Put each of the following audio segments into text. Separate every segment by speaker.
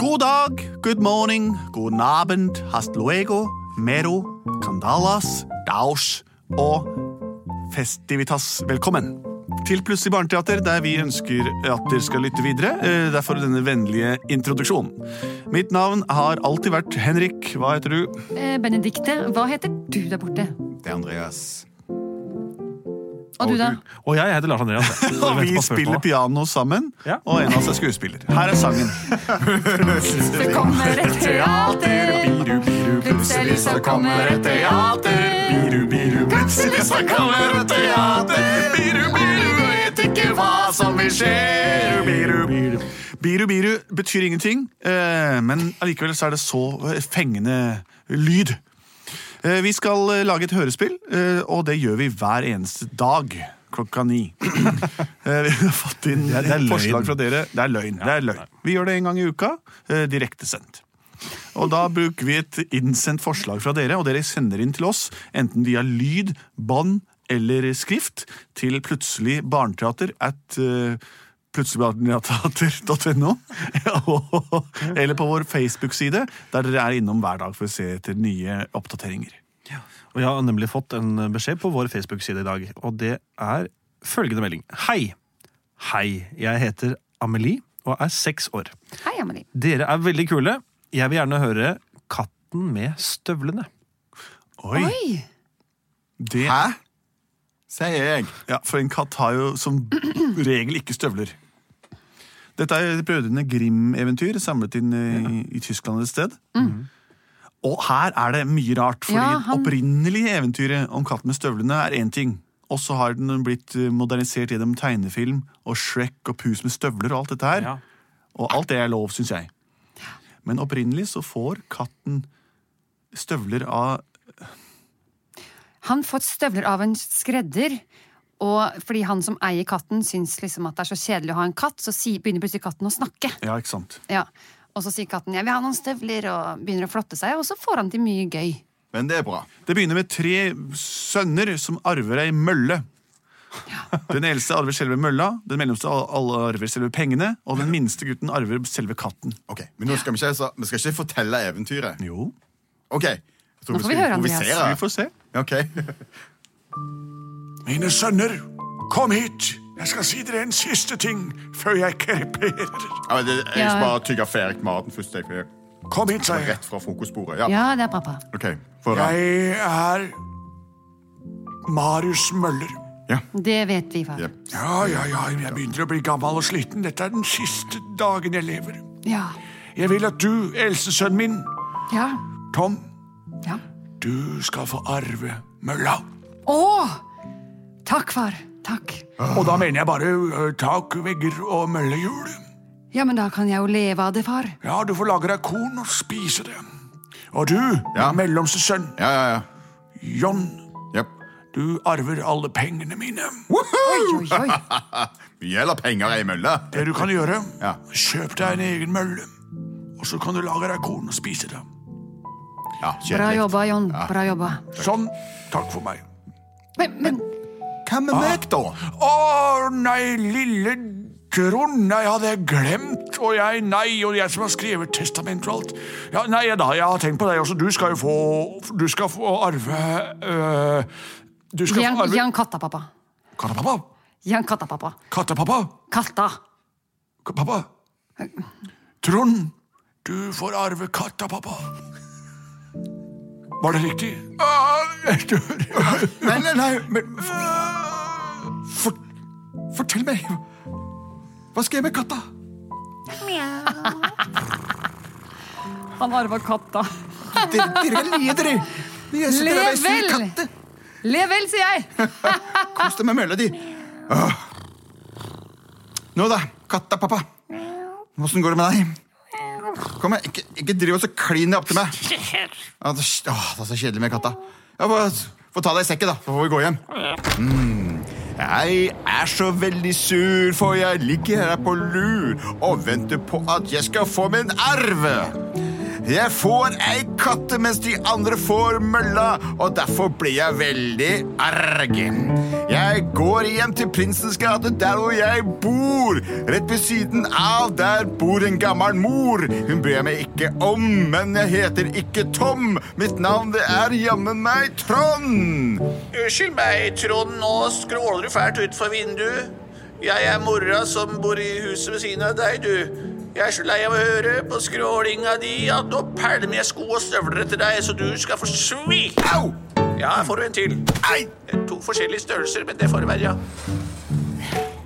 Speaker 1: God dag, good morning, god abend, hasta luego, mero, candalas, daus og festivitas. Velkommen til Plutselig barneteater, der vi ønsker at dere skal lytte videre. Eh, Derfor denne vennlige introduksjonen. Mitt navn har alltid vært Henrik. Hva heter du?
Speaker 2: Eh, Benedikte, hva heter du der borte?
Speaker 3: Det er Andreas.
Speaker 2: Og du, da?
Speaker 4: Og jeg heter Lars Andreas. jeg. Så
Speaker 1: Og
Speaker 4: venter
Speaker 1: vi
Speaker 4: på
Speaker 1: spiller
Speaker 4: spørsmål.
Speaker 1: piano sammen,
Speaker 4: Ja.
Speaker 1: og en av oss er skuespiller. Her er sangen.
Speaker 2: Så kommer et teater.
Speaker 3: Biru, biru,
Speaker 2: Plutselig så kommer et teater.
Speaker 3: Biru, biru, plutselig så kommer et teater. Biru, biru, vet ikke hva som vil skje. Biru, biru.
Speaker 1: Biru biru betyr ingenting, eh, men allikevel så er det så eh, fengende lyd. Eh, Vi skal eh, lage et hørespill, eh, og det gjør vi hver eneste dag klokka ni. Eh, Vi har fått inn
Speaker 4: Det er- det er løgn.
Speaker 1: forslag fra dere. Det er løgn. det er løgn. Vi gjør det en gang i uka, eh, direktesendt. Og da bruker vi et innsendt forslag fra dere, og dere sender inn til oss, enten via lyd, bånd eller skrift, til plutselig barneteater at eh, plutseligbarneteater.no, og- eller på vår Facebook-side, der dere er innom hver dag for å se etter nye oppdateringer.
Speaker 4: Og jeg har nemlig fått en beskjed på vår Facebook-side i dag, og det er følgende melding. Hei! Hei, jeg heter Amelie og er seks år.
Speaker 2: Hei, Amelie.
Speaker 4: Dere er veldig kule. Jeg vil gjerne høre Katten med støvlene.
Speaker 1: Oi!
Speaker 2: Oi!
Speaker 1: Det,
Speaker 3: Hæ? Sier jeg.
Speaker 1: ja, for en katt har jo som regel ikke støvler. Dette er brødrene Grim-eventyr, samlet inn eh, i, i Tyskland et sted. Og her er det mye rart, fordi
Speaker 2: Mm. Ja,
Speaker 1: det
Speaker 2: han-
Speaker 1: opprinnelige eventyret om katten med støvlene er én ting. Og så har den blitt eh, modernisert gjennom tegnefilm og Shrek og Pus med støvler og alt dette her. Og alt det er lov, syns jeg. Men opprinnelig så får katten støvler av
Speaker 2: Han fått støvler av en skredder. Og fordi han som eier katten, syns liksom at det er så kjedelig å ha en katt, så si, begynner plutselig katten å snakke.
Speaker 1: Ja, ikke sant?
Speaker 2: Ja. Og så sier katten 'jeg vil ha noen støvler', og begynner å flotte seg, og så får han til mye gøy.
Speaker 3: Men det er bra.
Speaker 1: Det begynner med tre sønner som arver ei mølle. Den eldste arver selve mølla, den mellomste al- alle arver selve pengene, og den minste gutten arver selve katten.
Speaker 3: Ok, Men nå skal vi ikke, så, vi skal ikke fortelle eventyret.
Speaker 1: Jo,
Speaker 3: Ok. Jeg tror
Speaker 2: Nå får vi høre, Andreas.
Speaker 1: vi får se.
Speaker 3: Ok.
Speaker 1: Mine sønner, kom hit! Jeg skal si dere en siste ting før jeg kreperer.
Speaker 3: Ja, men det, jeg
Speaker 2: Ja.
Speaker 3: skal bare tygge ferdig maten først. Jeg, for jeg
Speaker 1: Kom hit,
Speaker 3: var rett fra frokostbordet. Ja.
Speaker 2: Ja, det er pappa.
Speaker 3: Ok, får jeg.
Speaker 1: er Marius Møller.
Speaker 2: Det vet vi, far.
Speaker 3: Ja.
Speaker 1: Ja, ja, ja, jeg begynner å bli gammel og sliten. Dette er den siste dagen jeg lever.
Speaker 2: Ja.
Speaker 1: Jeg vil at du, eldstesønnen min,
Speaker 2: Ja.
Speaker 1: Tom,
Speaker 2: ja.
Speaker 1: du skal få arve mølla.
Speaker 2: Å! Takk, far. Takk.
Speaker 1: Og da mener jeg bare ø, tak, vegger og møllehjul.
Speaker 2: Ja, men da kan jeg jo leve av det, far.
Speaker 1: Ja, du får lage deg korn og spise det. Og du,
Speaker 3: Ja.
Speaker 1: mellomste sønn,
Speaker 3: ja, ja, ja.
Speaker 1: John,
Speaker 3: Jep.
Speaker 1: du arver alle pengene mine.
Speaker 2: Oi, oi, oi.
Speaker 3: Vi gjelder penger i mølle.
Speaker 1: Det du kan gjøre,
Speaker 3: Ja.
Speaker 1: kjøp deg en egen mølle, og så kan du lage deg korn og spise det.
Speaker 3: Ja,
Speaker 2: Bra
Speaker 3: kjedelig.
Speaker 2: jobba, John. Bra jobba.
Speaker 1: Sånn. Takk for meg.
Speaker 2: Men, men
Speaker 3: Hva med meg, da?
Speaker 1: Å nei, lille Trond, nei, hadde jeg glemt, og jeg, nei, og jeg som har skrevet testament og alt. Ja, nei, da, jeg har tenkt på deg også, du skal jo få, du skal få arve, øh, du
Speaker 2: gi
Speaker 1: skal
Speaker 2: han-
Speaker 1: få arve...
Speaker 2: gi han katta, pappa.
Speaker 1: Kattepappa?
Speaker 2: Gi han katta, pappa.
Speaker 1: Kattepappa?
Speaker 2: Katta.
Speaker 1: K- Pappa?
Speaker 3: Trond, du får arve katta, pappa. Var det riktig? Nei, nei, nei. Men, for, fortell meg. Hva skal jeg med katta?
Speaker 5: Han arva katta.
Speaker 3: Dere, dere kan le, dere. Jeg sitter her og er sur
Speaker 5: Level!
Speaker 3: katte.
Speaker 5: Le vel, sier jeg!
Speaker 3: Kos deg med mølla di. Åh. Nå da, katta, pappa. Åssen går det med deg? Kom her, ikke, ikke driv og så klin deg opp til meg. Åh, det er så kjedelig med katta. Ja, få, få ta deg i sekken, da, så får vi gå hjem. Mm. Jeg er så veldig sur, for jeg ligger her på lur og venter på at jeg skal få min arv. Jeg får ei katte mens de andre får mølla, og derfor blir jeg veldig arg. Jeg går hjem til Prinsens gate, der hvor jeg bor. Rett ved siden av der bor en gammel mor. Hun bryr jeg meg ikke om, men jeg heter ikke Tom. Mitt navn det er jammen meg Trond.
Speaker 6: Unnskyld meg, Trond, nå skråler du fælt utfor vinduet. Jeg er mora som bor i huset ved siden av deg, du. Jeg er så lei av å høre på skrålinga di at nå pælmer jeg sko og støvler etter deg, så du skal få svi.
Speaker 3: Au!
Speaker 6: Ja, her får du en til. Eh,
Speaker 3: Ei!
Speaker 6: To forskjellige størrelser, men det får det være, ja.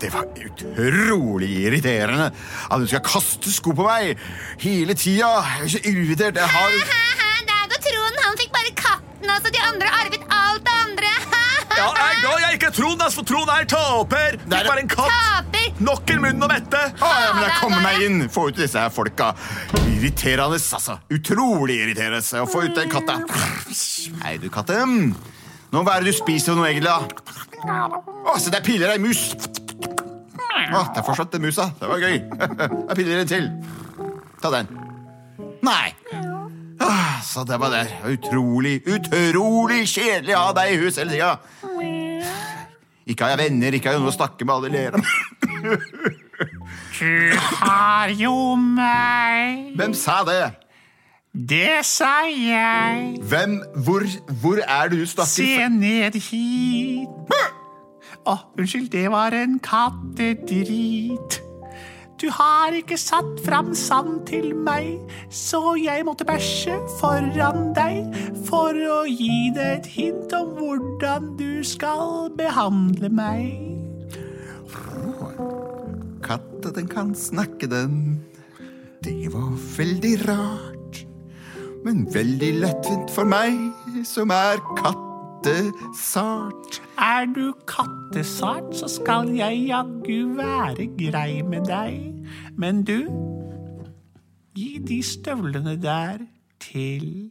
Speaker 3: Det var utrolig irriterende at hun skal kaste sko på meg hele tida. Jeg er så irritert. Jeg har
Speaker 2: Ha-ha, Dag og Trond, han fikk bare katten, altså. De andre har arvet alt det andre.
Speaker 7: Ja, nei, nå er jeg ikke Trond, ass, for Trond er taper. Fikk
Speaker 3: Nei, det-
Speaker 7: bare en katt.
Speaker 2: Taper.
Speaker 7: Nok en munn å mette.
Speaker 3: Å, ja, men jeg kommer meg inn! Få ut disse her folka. Irriterende, altså. Utrolig irriterende å få ut den katta. Hei, du, katte. Nå hva er det du spiser for noe, egentlig? da? Å, se, der piller ei mus. Å, der forsvant den musa. Det var gøy. Jeg piller en til. Ta den. Nei. Ah, Så det var der. Utrolig, utrolig kjedelig å ha deg i hus hele tida. Ikke har jeg venner, ikke har jeg noe å snakke med alle ler om.
Speaker 1: Har jo meg.
Speaker 3: Hvem sa det?
Speaker 1: Det sa jeg.
Speaker 3: Hvem, hvor, hvor er det du snakker
Speaker 1: Se ned hit. Å, unnskyld, det var en kattedrit. Du har ikke satt fram sand til meg, så jeg måtte bæsje foran deg for å gi deg et hint om hvordan du skal behandle meg.
Speaker 3: Katta, den kan snakke, den. Det var veldig rart, men veldig lettvint for meg, som er kattesart.
Speaker 1: Er du kattesart, så skal jeg jaggu være grei med deg. Men du, gi de støvlene der til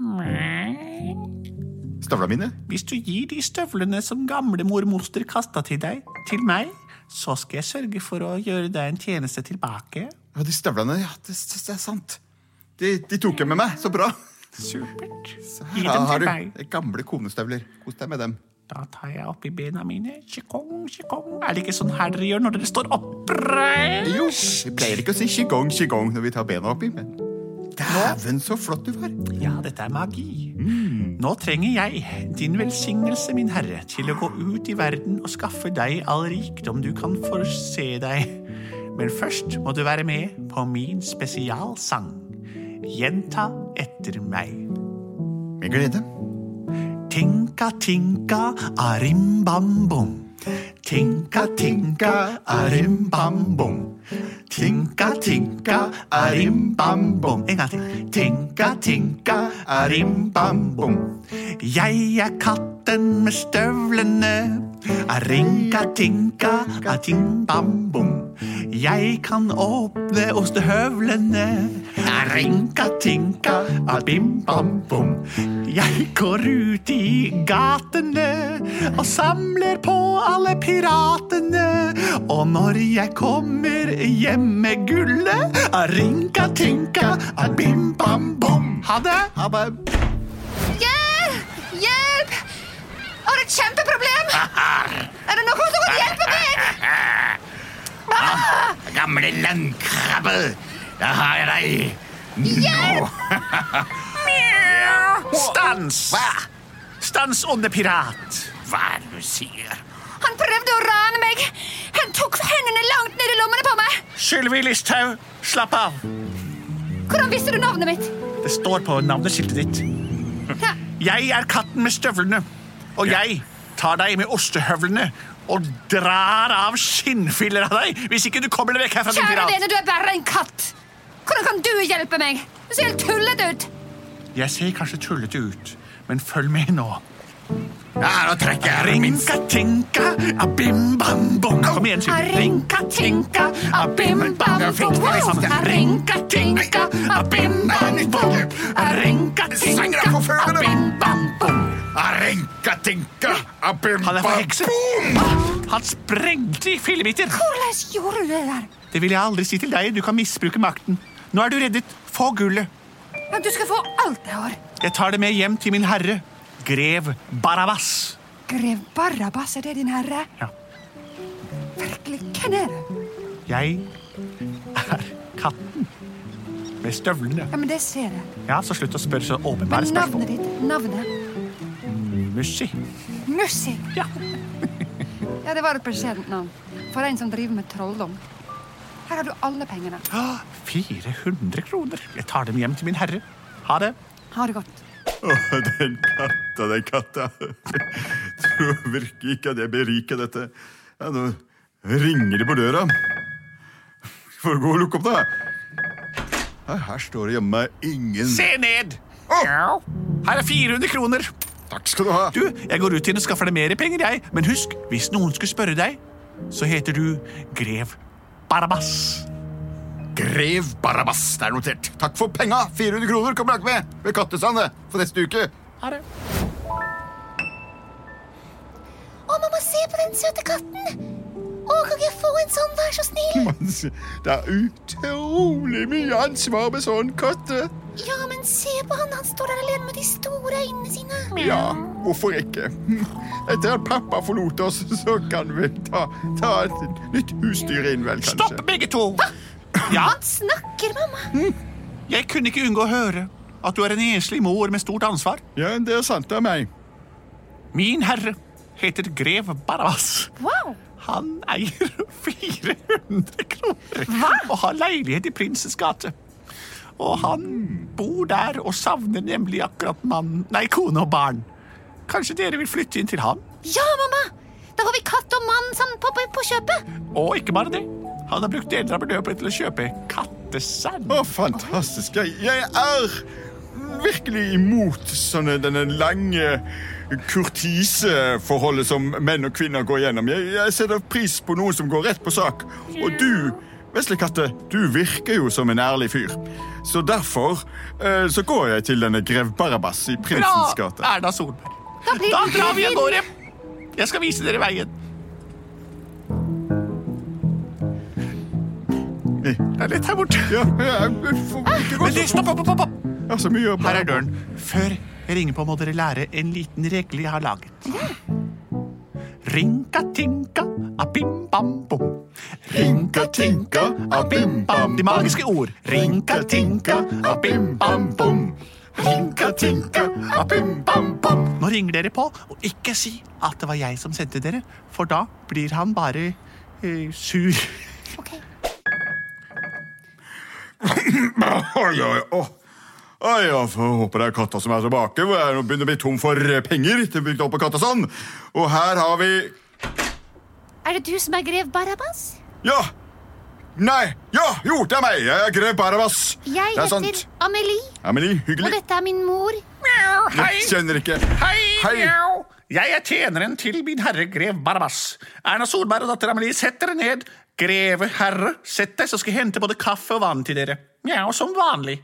Speaker 1: meg.
Speaker 3: Støvla mine?
Speaker 1: Hvis du gir de støvlene som gamlemor Moster kasta til deg, til meg, så skal jeg sørge for å gjøre deg en tjeneste tilbake.
Speaker 3: Ja, de støvlene, ja, det, det er sant. De, de tok jeg med meg, så bra.
Speaker 1: Supert. Gi
Speaker 3: Her
Speaker 1: dem
Speaker 3: har
Speaker 1: til
Speaker 3: du
Speaker 1: meg.
Speaker 3: gamle konestøvler. Kos deg med dem.
Speaker 1: Da tar jeg oppi bena mine. Tjekong, tjekong. Er det ikke sånn her dere gjør når dere står oppreist?
Speaker 3: Jo, vi pleier ikke å si qigong, qigong når vi tar bena oppi, men Dæven, så flott du var.
Speaker 1: Ja, dette er magi. Nå trenger jeg din velsignelse, min herre, til å gå ut i verden og skaffe deg all rikdom du kan forse deg. Men først må du være med på min spesialsang. Gjenta etter meg.
Speaker 3: Med glede.
Speaker 1: Tinka, tinka, arimbambom. Tinka, tinka, arimbambom. Tinka, tinka, arimbambom. En gang til. Tinka, tinka, arimbambom. Jeg er katten med støvlene. Arinka, tinka, atimbambom. Jeg kan åpne ostehøvlene. Arinka, tinka, abimbambom. Jeg går ut i gatene og samler på alle piratene. Og når jeg kommer hjem med gullet, arinka, tinka, abimbambom. Ha det!
Speaker 3: Ha det.
Speaker 2: Hjelp! Hjelp! Jeg har et kjempeproblem! Er det noen som kan hjelpe meg?
Speaker 3: Gamle landkrabbe, der har jeg deg.
Speaker 2: Hjelp!
Speaker 1: Stans! Stans, onde pirat!
Speaker 3: Hva er det du sier?
Speaker 2: Han prøvde å rane meg! Han tok hendene langt ned i lommene på meg!
Speaker 1: Sylvi Listhaug, slapp av.
Speaker 2: Hvordan visste du navnet mitt?
Speaker 1: Det står på navneskiltet ditt.
Speaker 2: Ja.
Speaker 1: Jeg er katten med støvlene, og jeg tar deg med ostehøvlene og drar av skinnfiller av deg hvis ikke du kommer deg vekk herfra, din
Speaker 2: Kjære
Speaker 1: pirat.
Speaker 2: vene, du er bare en katt! Hvordan kan du hjelpe meg? Du ser helt tullete ut!
Speaker 1: Jeg ser kanskje tullete ut, men følg med nå.
Speaker 3: Ja, nå trekker jeg den minst.
Speaker 1: Rinka tinka, abim bam bom. Kom igjen, Sylvi.
Speaker 2: Rinka tinka, abim bam
Speaker 1: Jeg fikk det i samme.
Speaker 2: bom.
Speaker 1: Rinka tinka, abim bam bom. Rinka
Speaker 3: Sanger
Speaker 1: tinka,
Speaker 3: er på følgene.
Speaker 1: abim bam bom.
Speaker 3: Arenka-tinka,
Speaker 1: Han er forhekset.
Speaker 3: abim-bam-boom!
Speaker 1: Han sprengte i fillebiter.
Speaker 2: Hvordan gjorde du det der?
Speaker 1: Det vil jeg aldri si til deg. Du kan misbruke makten. Nå er du reddet. Få gullet.
Speaker 2: Men du skal få alt jeg har.
Speaker 1: Jeg tar det med hjem til min herre, grev Barabas.
Speaker 2: Grev Barabas, er det din herre?
Speaker 1: Ja.
Speaker 2: Virkelig, hvem er du?
Speaker 1: Jeg er katten med støvlene.
Speaker 2: Ja, men det ser jeg.
Speaker 1: Ja, så slutt å spørre så åpenbare
Speaker 2: Men
Speaker 1: spørsmål.
Speaker 2: navnet ditt, navnet
Speaker 1: Mushy.
Speaker 2: Mussi. Ja. ja, det var et beskjedent navn. For en som driver med trolldom. Her har du alle pengene.
Speaker 1: Ah, 400 kroner. Jeg tar dem hjem til min herre. Ha det.
Speaker 2: Ha det godt.
Speaker 3: Åh, den katta, den katta. Tror virkelig ikke at jeg beriker dette. Ja, nå ringer det på døra. Får gå og lukke opp, da. Ja, Her står det jammen meg ingen
Speaker 1: Se ned! Her er 400 kroner.
Speaker 3: Takk skal du ha.
Speaker 1: Du, jeg går ut igjen og skaffer deg mer penger, jeg. Men husk, hvis noen skulle spørre deg, så heter du grev Barabas.
Speaker 3: Grev Barabas, det er notert. Takk for penga. 400 kroner kommer dere med ved Kattesandet for neste uke.
Speaker 2: Å, mamma, se på den søte katten! Å, kan jeg få en sånn, vær så snill?
Speaker 3: Det er utrolig mye ansvar med sånn katte.
Speaker 2: Ja, men se på han, han står der alene med de store øynene sine.
Speaker 3: Ja, hvorfor ikke? Etter at pappa forlot oss, så kan vi ta, ta et nytt husdyr inn, vel, kanskje.
Speaker 1: Stopp, begge to! Ja, Hm?
Speaker 2: Snakker, mamma.
Speaker 1: jeg kunne ikke unngå å høre at du er en enslig mor med stort ansvar.
Speaker 3: Ja, det er sant av meg.
Speaker 1: Min herre heter grev Barabas.
Speaker 2: Wow.
Speaker 1: Han eier 400 kroner og har leilighet i Prinsens gate. Og han bor der og savner nemlig akkurat mann, nei, kone og barn. Kanskje dere vil flytte inn til ham?
Speaker 2: Ja, mamma! Da får vi katt og mann sammen på, på, på kjøpet.
Speaker 1: Og ikke bare det. Han har brukt deler av beløpet til å kjøpe kattesand.
Speaker 3: Å, fantastisk. Jeg, jeg er virkelig imot sånne, denne lange kurtiseforholdet som menn og kvinner går gjennom. Jeg, jeg setter pris på noen som går rett på sak. Og du, vesle katte, du virker jo som en ærlig fyr. Så derfor eh, så går jeg til denne grev Barabas i Prinsens
Speaker 1: Bra,
Speaker 3: gate.
Speaker 1: Erna Solberg.
Speaker 2: Da blir
Speaker 1: Da
Speaker 2: det
Speaker 1: drar vi av
Speaker 2: fint.
Speaker 1: gårde. Jeg skal vise dere veien. Det er lett her borte.
Speaker 3: Ja, ja, vi får ikke gå
Speaker 1: Men det,
Speaker 3: så
Speaker 1: stopp, stopp,
Speaker 3: fort.
Speaker 1: stopp, stopp.
Speaker 3: Det er så mye å
Speaker 1: Her er døren. Før jeg ringer på, må dere lære en liten regle jeg har laget. Rinka tinka abim bam bom. Rinka tinka abim bam De magiske ord. Rinka tinka abim bam bom. Rinka tinka abim bam bom. Nå ringer dere på, og ikke si at det var jeg som sendte dere, for da blir han bare eh, sur.
Speaker 3: Oi, oi, oi. Oi, jeg får håpe det er katta som er tilbake, hvor jeg nå begynner å bli tom for eh, penger. til å bygge opp på Kattasand. Og her har vi
Speaker 2: Er det du som er grev Barabas?
Speaker 3: Ja! Nei! Ja! Jo, det er meg! Jeg er Grev Barabas.
Speaker 2: Jeg
Speaker 3: det er
Speaker 2: heter
Speaker 3: sant.
Speaker 2: Amelie,
Speaker 3: Amelie,
Speaker 2: og
Speaker 3: hyggelig.
Speaker 2: dette er min mor.
Speaker 3: Jeg kjenner ikke Hei.
Speaker 1: mjau. Jeg er tjeneren til min herre grev Barabas. Erna Solberg og datter Amelie, sett dere ned. Greve herre, sett deg, så skal jeg hente både kaffe og vann til dere. Mjau, som vanlig.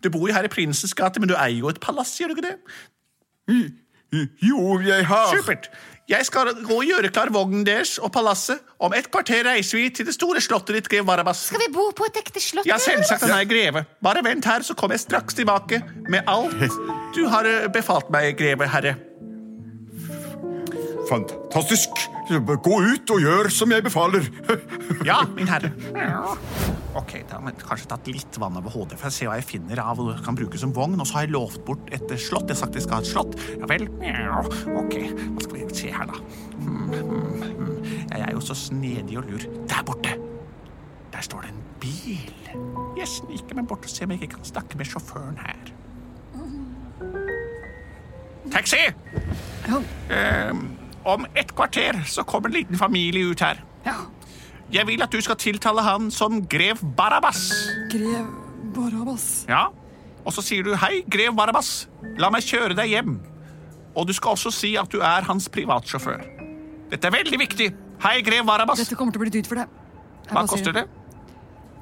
Speaker 1: Du bor jo her i Prinsens gate, men du eier jo et palass, gjør du ikke det?
Speaker 3: Jo, jeg har
Speaker 1: Supert. Jeg skal gå og gjøre klar vognen deres og palasset. Om et kvarter reiser vi til det store slottet ditt, grev Barabas.
Speaker 2: Skal vi bo på et ekte slott?
Speaker 1: Ja,
Speaker 2: eller?
Speaker 1: selvsagt han er greve. Bare vent her, så kommer jeg straks tilbake med alt du har eh, befalt meg, greve herre.
Speaker 3: Fantastisk. Gå ut og gjør som jeg befaler.
Speaker 1: Ja, min herre.
Speaker 3: Å,
Speaker 1: Ok, da har jeg kanskje tatt litt vann over hodet for å se hva jeg finner av og kan bruke som vogn. Og så har jeg lovt bort et eh, slott. Jeg har sagt jeg skal ha et slott. Ja vel. Mjau. Ok, hva skal vi se her, da? Hmm, hmm, hmm. Jeg er jo så snedig og lur. Der borte! Der står det en bil. Jeg sniker meg bort og ser om jeg ikke kan snakke med sjåføren her. Taxi! Ehm, om et kvarter så kommer en liten familie ut her.
Speaker 2: Ja.
Speaker 1: Jeg vil at du skal tiltale han som grev Barabbas.
Speaker 2: Grev Barabbas.
Speaker 1: Ja. Og så sier du 'Hei, grev Barabbas, la meg kjøre deg hjem'. Og du skal også si at du er hans privatsjåfør. Dette er veldig viktig. Hei, grev Barabbas.
Speaker 2: Dette kommer til å bli dyrt for deg. Jeg
Speaker 1: Hva
Speaker 2: bare sier
Speaker 1: koster det?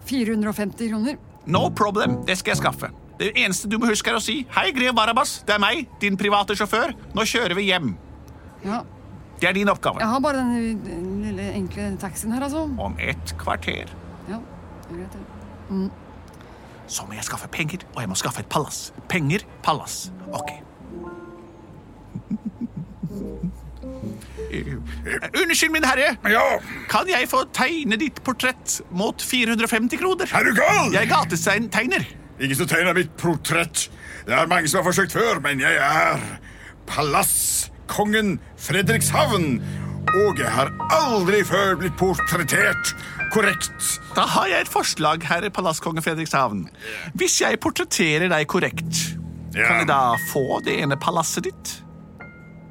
Speaker 2: 450 kroner.
Speaker 1: No problem. Det skal jeg skaffe. Det eneste du må huske, er å si 'Hei, grev Barabbas, det er meg, din private sjåfør. Nå kjører vi hjem'.
Speaker 2: Ja.
Speaker 1: Det er din oppgave.
Speaker 2: Jeg har bare den, den lille enkle taxien her, altså.
Speaker 1: Om et kvarter
Speaker 2: Ja, det er greit, det.
Speaker 1: så må jeg skaffe penger, og jeg må skaffe et palass. Penger, palass. Ok. Eh, Unnskyld, min herre. Kan jeg få tegne ditt portrett mot 450 kroner?
Speaker 3: Er du gal?
Speaker 1: Jeg er gatetegner.
Speaker 3: Ikke så tegner mitt portrett. Det er mange som har forsøkt før, men jeg er palasskongen Fredrikshavn. Og jeg har aldri før blitt portrettert korrekt.
Speaker 1: Da har jeg et forslag, herre palasskonge Fredrikshavn. Hvis jeg portretterer deg korrekt, kan
Speaker 3: Ja.
Speaker 1: jeg da få det ene palasset ditt?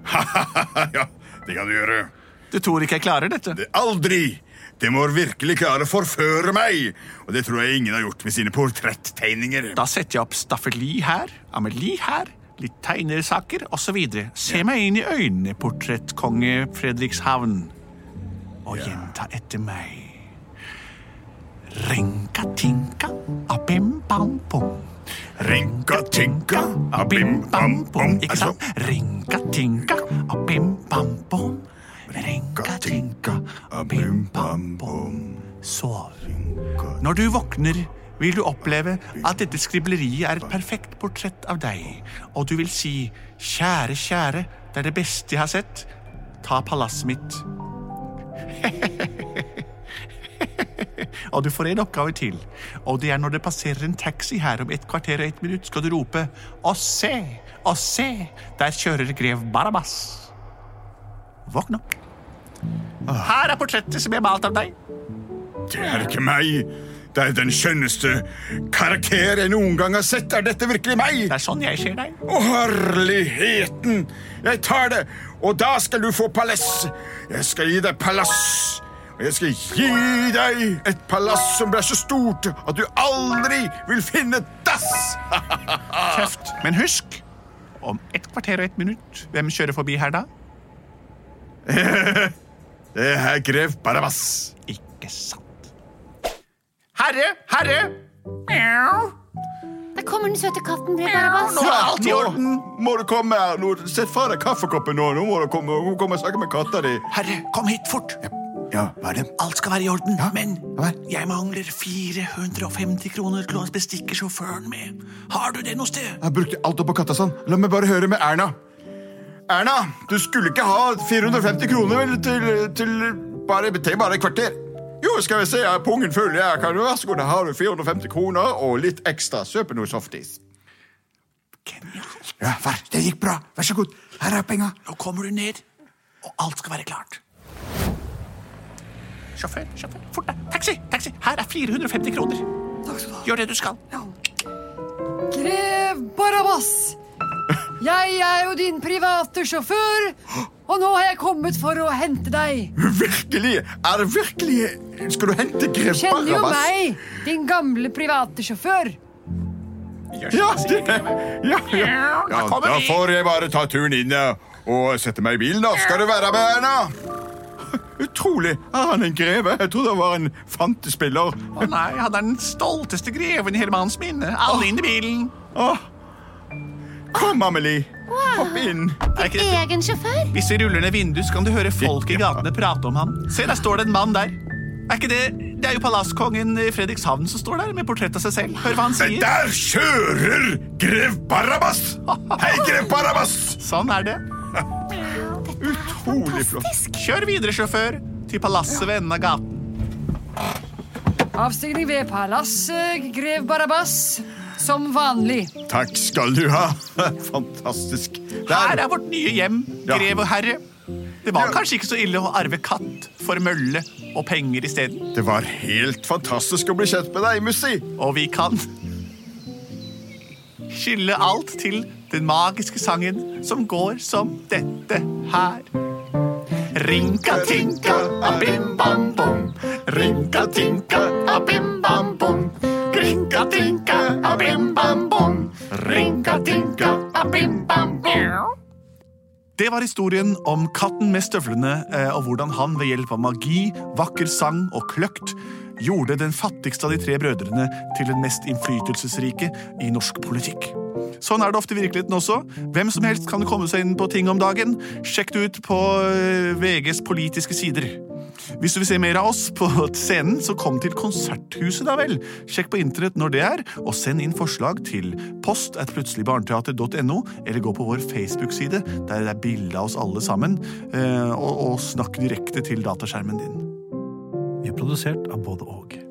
Speaker 3: ja, det kan du gjøre.
Speaker 1: Du tror ikke jeg klarer dette?
Speaker 3: Det aldri. Det må virkelig klare å forføre meg. Og det tror jeg ingen har gjort med sine portretttegninger.
Speaker 1: Da setter jeg opp staffeli her, Amelie her, litt tegnersaker osv. Se meg inn i øynene, portrettkonge Fredrikshavn, og gjenta etter meg. Rinka-tinka, abim-bam-bom.
Speaker 3: Rinka-tinka, abim-bam-bom.
Speaker 1: Ikke sant? Rinka-tinka, abim-bam-bom. Rinka-tinka, abim-bam-bom. Sov. Når du våkner, vil du oppleve at dette skribleriet er et perfekt portrett av deg. Og du vil si 'Kjære, kjære, det er det beste jeg har sett. Ta palasset mitt'. og du får en oppgave til. Og det er når det passerer en taxi her om et kvarter og et minutt, skal du rope 'Å se, å se, der kjører grev Barabbas'. Våkn opp. Her er portrettet som jeg malte av deg.
Speaker 3: Det er ikke meg. Det er den skjønneste karakter jeg noen gang har sett. Er dette virkelig meg?
Speaker 1: Det er sånn jeg ser deg.
Speaker 3: Å, herligheten! Jeg tar det, og da skal du få palass. Jeg skal gi deg palass. Og jeg skal gi deg et palass som blir så stort at du aldri vil finne dass.
Speaker 1: Tøft. Men husk, om et kvarter og et minutt, hvem kjører forbi her da?
Speaker 3: Det er grev Barabbas.
Speaker 1: Ikke sant. Herre, herre!
Speaker 2: Der kommer den søte katten, Grev Barabbas.
Speaker 3: Nå er alt i orden. Må du komme her. Nå, sett fra deg kaffekoppen nå. Nå må du komme, nå må du komme og snakke med katta di.
Speaker 1: Herre, kom hit fort.
Speaker 3: Ja, hva er det?
Speaker 1: Alt skal være i orden, men
Speaker 3: hva er
Speaker 1: jeg mangler 450 kroner til å bestikke sjåføren med. Har du det noe sted?
Speaker 3: Jeg brukte alt opp på katta sånn. La meg bare høre med Erna. Erna, du skulle ikke ha 450 kroner vel til, til bare, til bare et kvarter. Jo, skal vi se, jeg har pungen full. Jeg kan jo vær så god, her har du 450 kroner og litt ekstra. Kjøp noe softis.
Speaker 1: Genialt.
Speaker 3: Ja, vær, det gikk bra. Vær så god. Her er penga.
Speaker 1: Nå kommer du ned, og alt skal være klart. Sjåfør, sjåfør, fort deg. Taxi, taxi. Her er 450 kroner.
Speaker 2: Takk skal du ha.
Speaker 1: Gjør det du skal.
Speaker 2: Grev Barabbas! Jeg er jo din private sjåfør, og nå har jeg kommet for å hente deg.
Speaker 3: Virkelig? Er det virkelig Skal du hente
Speaker 2: Du
Speaker 3: grep
Speaker 2: kjenner jo meg, din gamle private sjåfør.
Speaker 3: Ja, det, ja, ja. ja,
Speaker 1: kommer
Speaker 3: da
Speaker 1: vi.
Speaker 3: får jeg bare ta turen inn ja, og sette meg i bilen. da. Skal du være med, Erna? Utrolig. Er han en greve? Jeg trodde han var en fantespiller.
Speaker 1: Å nei, han er den stolteste greven i hele manns minne. Alle inn i bilen.
Speaker 3: Åh. Kom, Amelie. Hopp inn.
Speaker 1: Er ikke dette-
Speaker 8: Egen sjåfør?
Speaker 1: Hvis vi ruller ned vinduet, så kan du høre folk i gatene prate om han. Se, der står det en mann der. Er ikke det Det er jo palasskongen i Fredrikshavn som står der med portrett av seg selv. Hør hva han
Speaker 3: Men
Speaker 1: sier.
Speaker 3: der kjører grev Barabbas! Hei, grev Barabbas!
Speaker 1: Sånn er det.
Speaker 3: Utrolig flott.
Speaker 1: Kjør videre, sjåfør, til palasset ved enden av gaten.
Speaker 2: Avstigning ved palasset, grev Barabas. Som vanlig.
Speaker 3: Takk skal du ha. Fantastisk.
Speaker 9: Her
Speaker 3: Der.
Speaker 9: er vårt nye hjem,
Speaker 3: Ja.
Speaker 9: grev og herre. Det var kanskje ikke så ille å arve katt for mølle og penger isteden.
Speaker 3: Det var helt fantastisk å bli kjent med deg, Mussi.
Speaker 9: Og vi kan skylde alt til den magiske sangen som går som dette her. Rinka-tinka, abim-bam-bom. Rinka-tinka, abim-bam-bom. Rinka-tinka, abim-bam-bom. Rinka-tinka, abim-bam-bom.
Speaker 1: Det var historien om katten med støvlene, eh, og hvordan han ved hjelp av magi, vakker sang og kløkt gjorde den fattigste av de tre brødrene til den mest innflytelsesrike i norsk politikk. Sånn er det ofte i virkeligheten også. Hvem som helst kan komme seg inn på ting om dagen. Sjekk det ut på eh, VGs politiske sider. Hvis du vil se mer av oss på scenen, så kom til Konserthuset, da vel. Sjekk på internett når det er, og send inn forslag til post at plutseligbarneteater.no, eller gå på vår Facebook-side, der det er bilde av oss alle sammen, eh, og, og snakk direkte til dataskjermen din.
Speaker 4: é Vi er produsert av både og.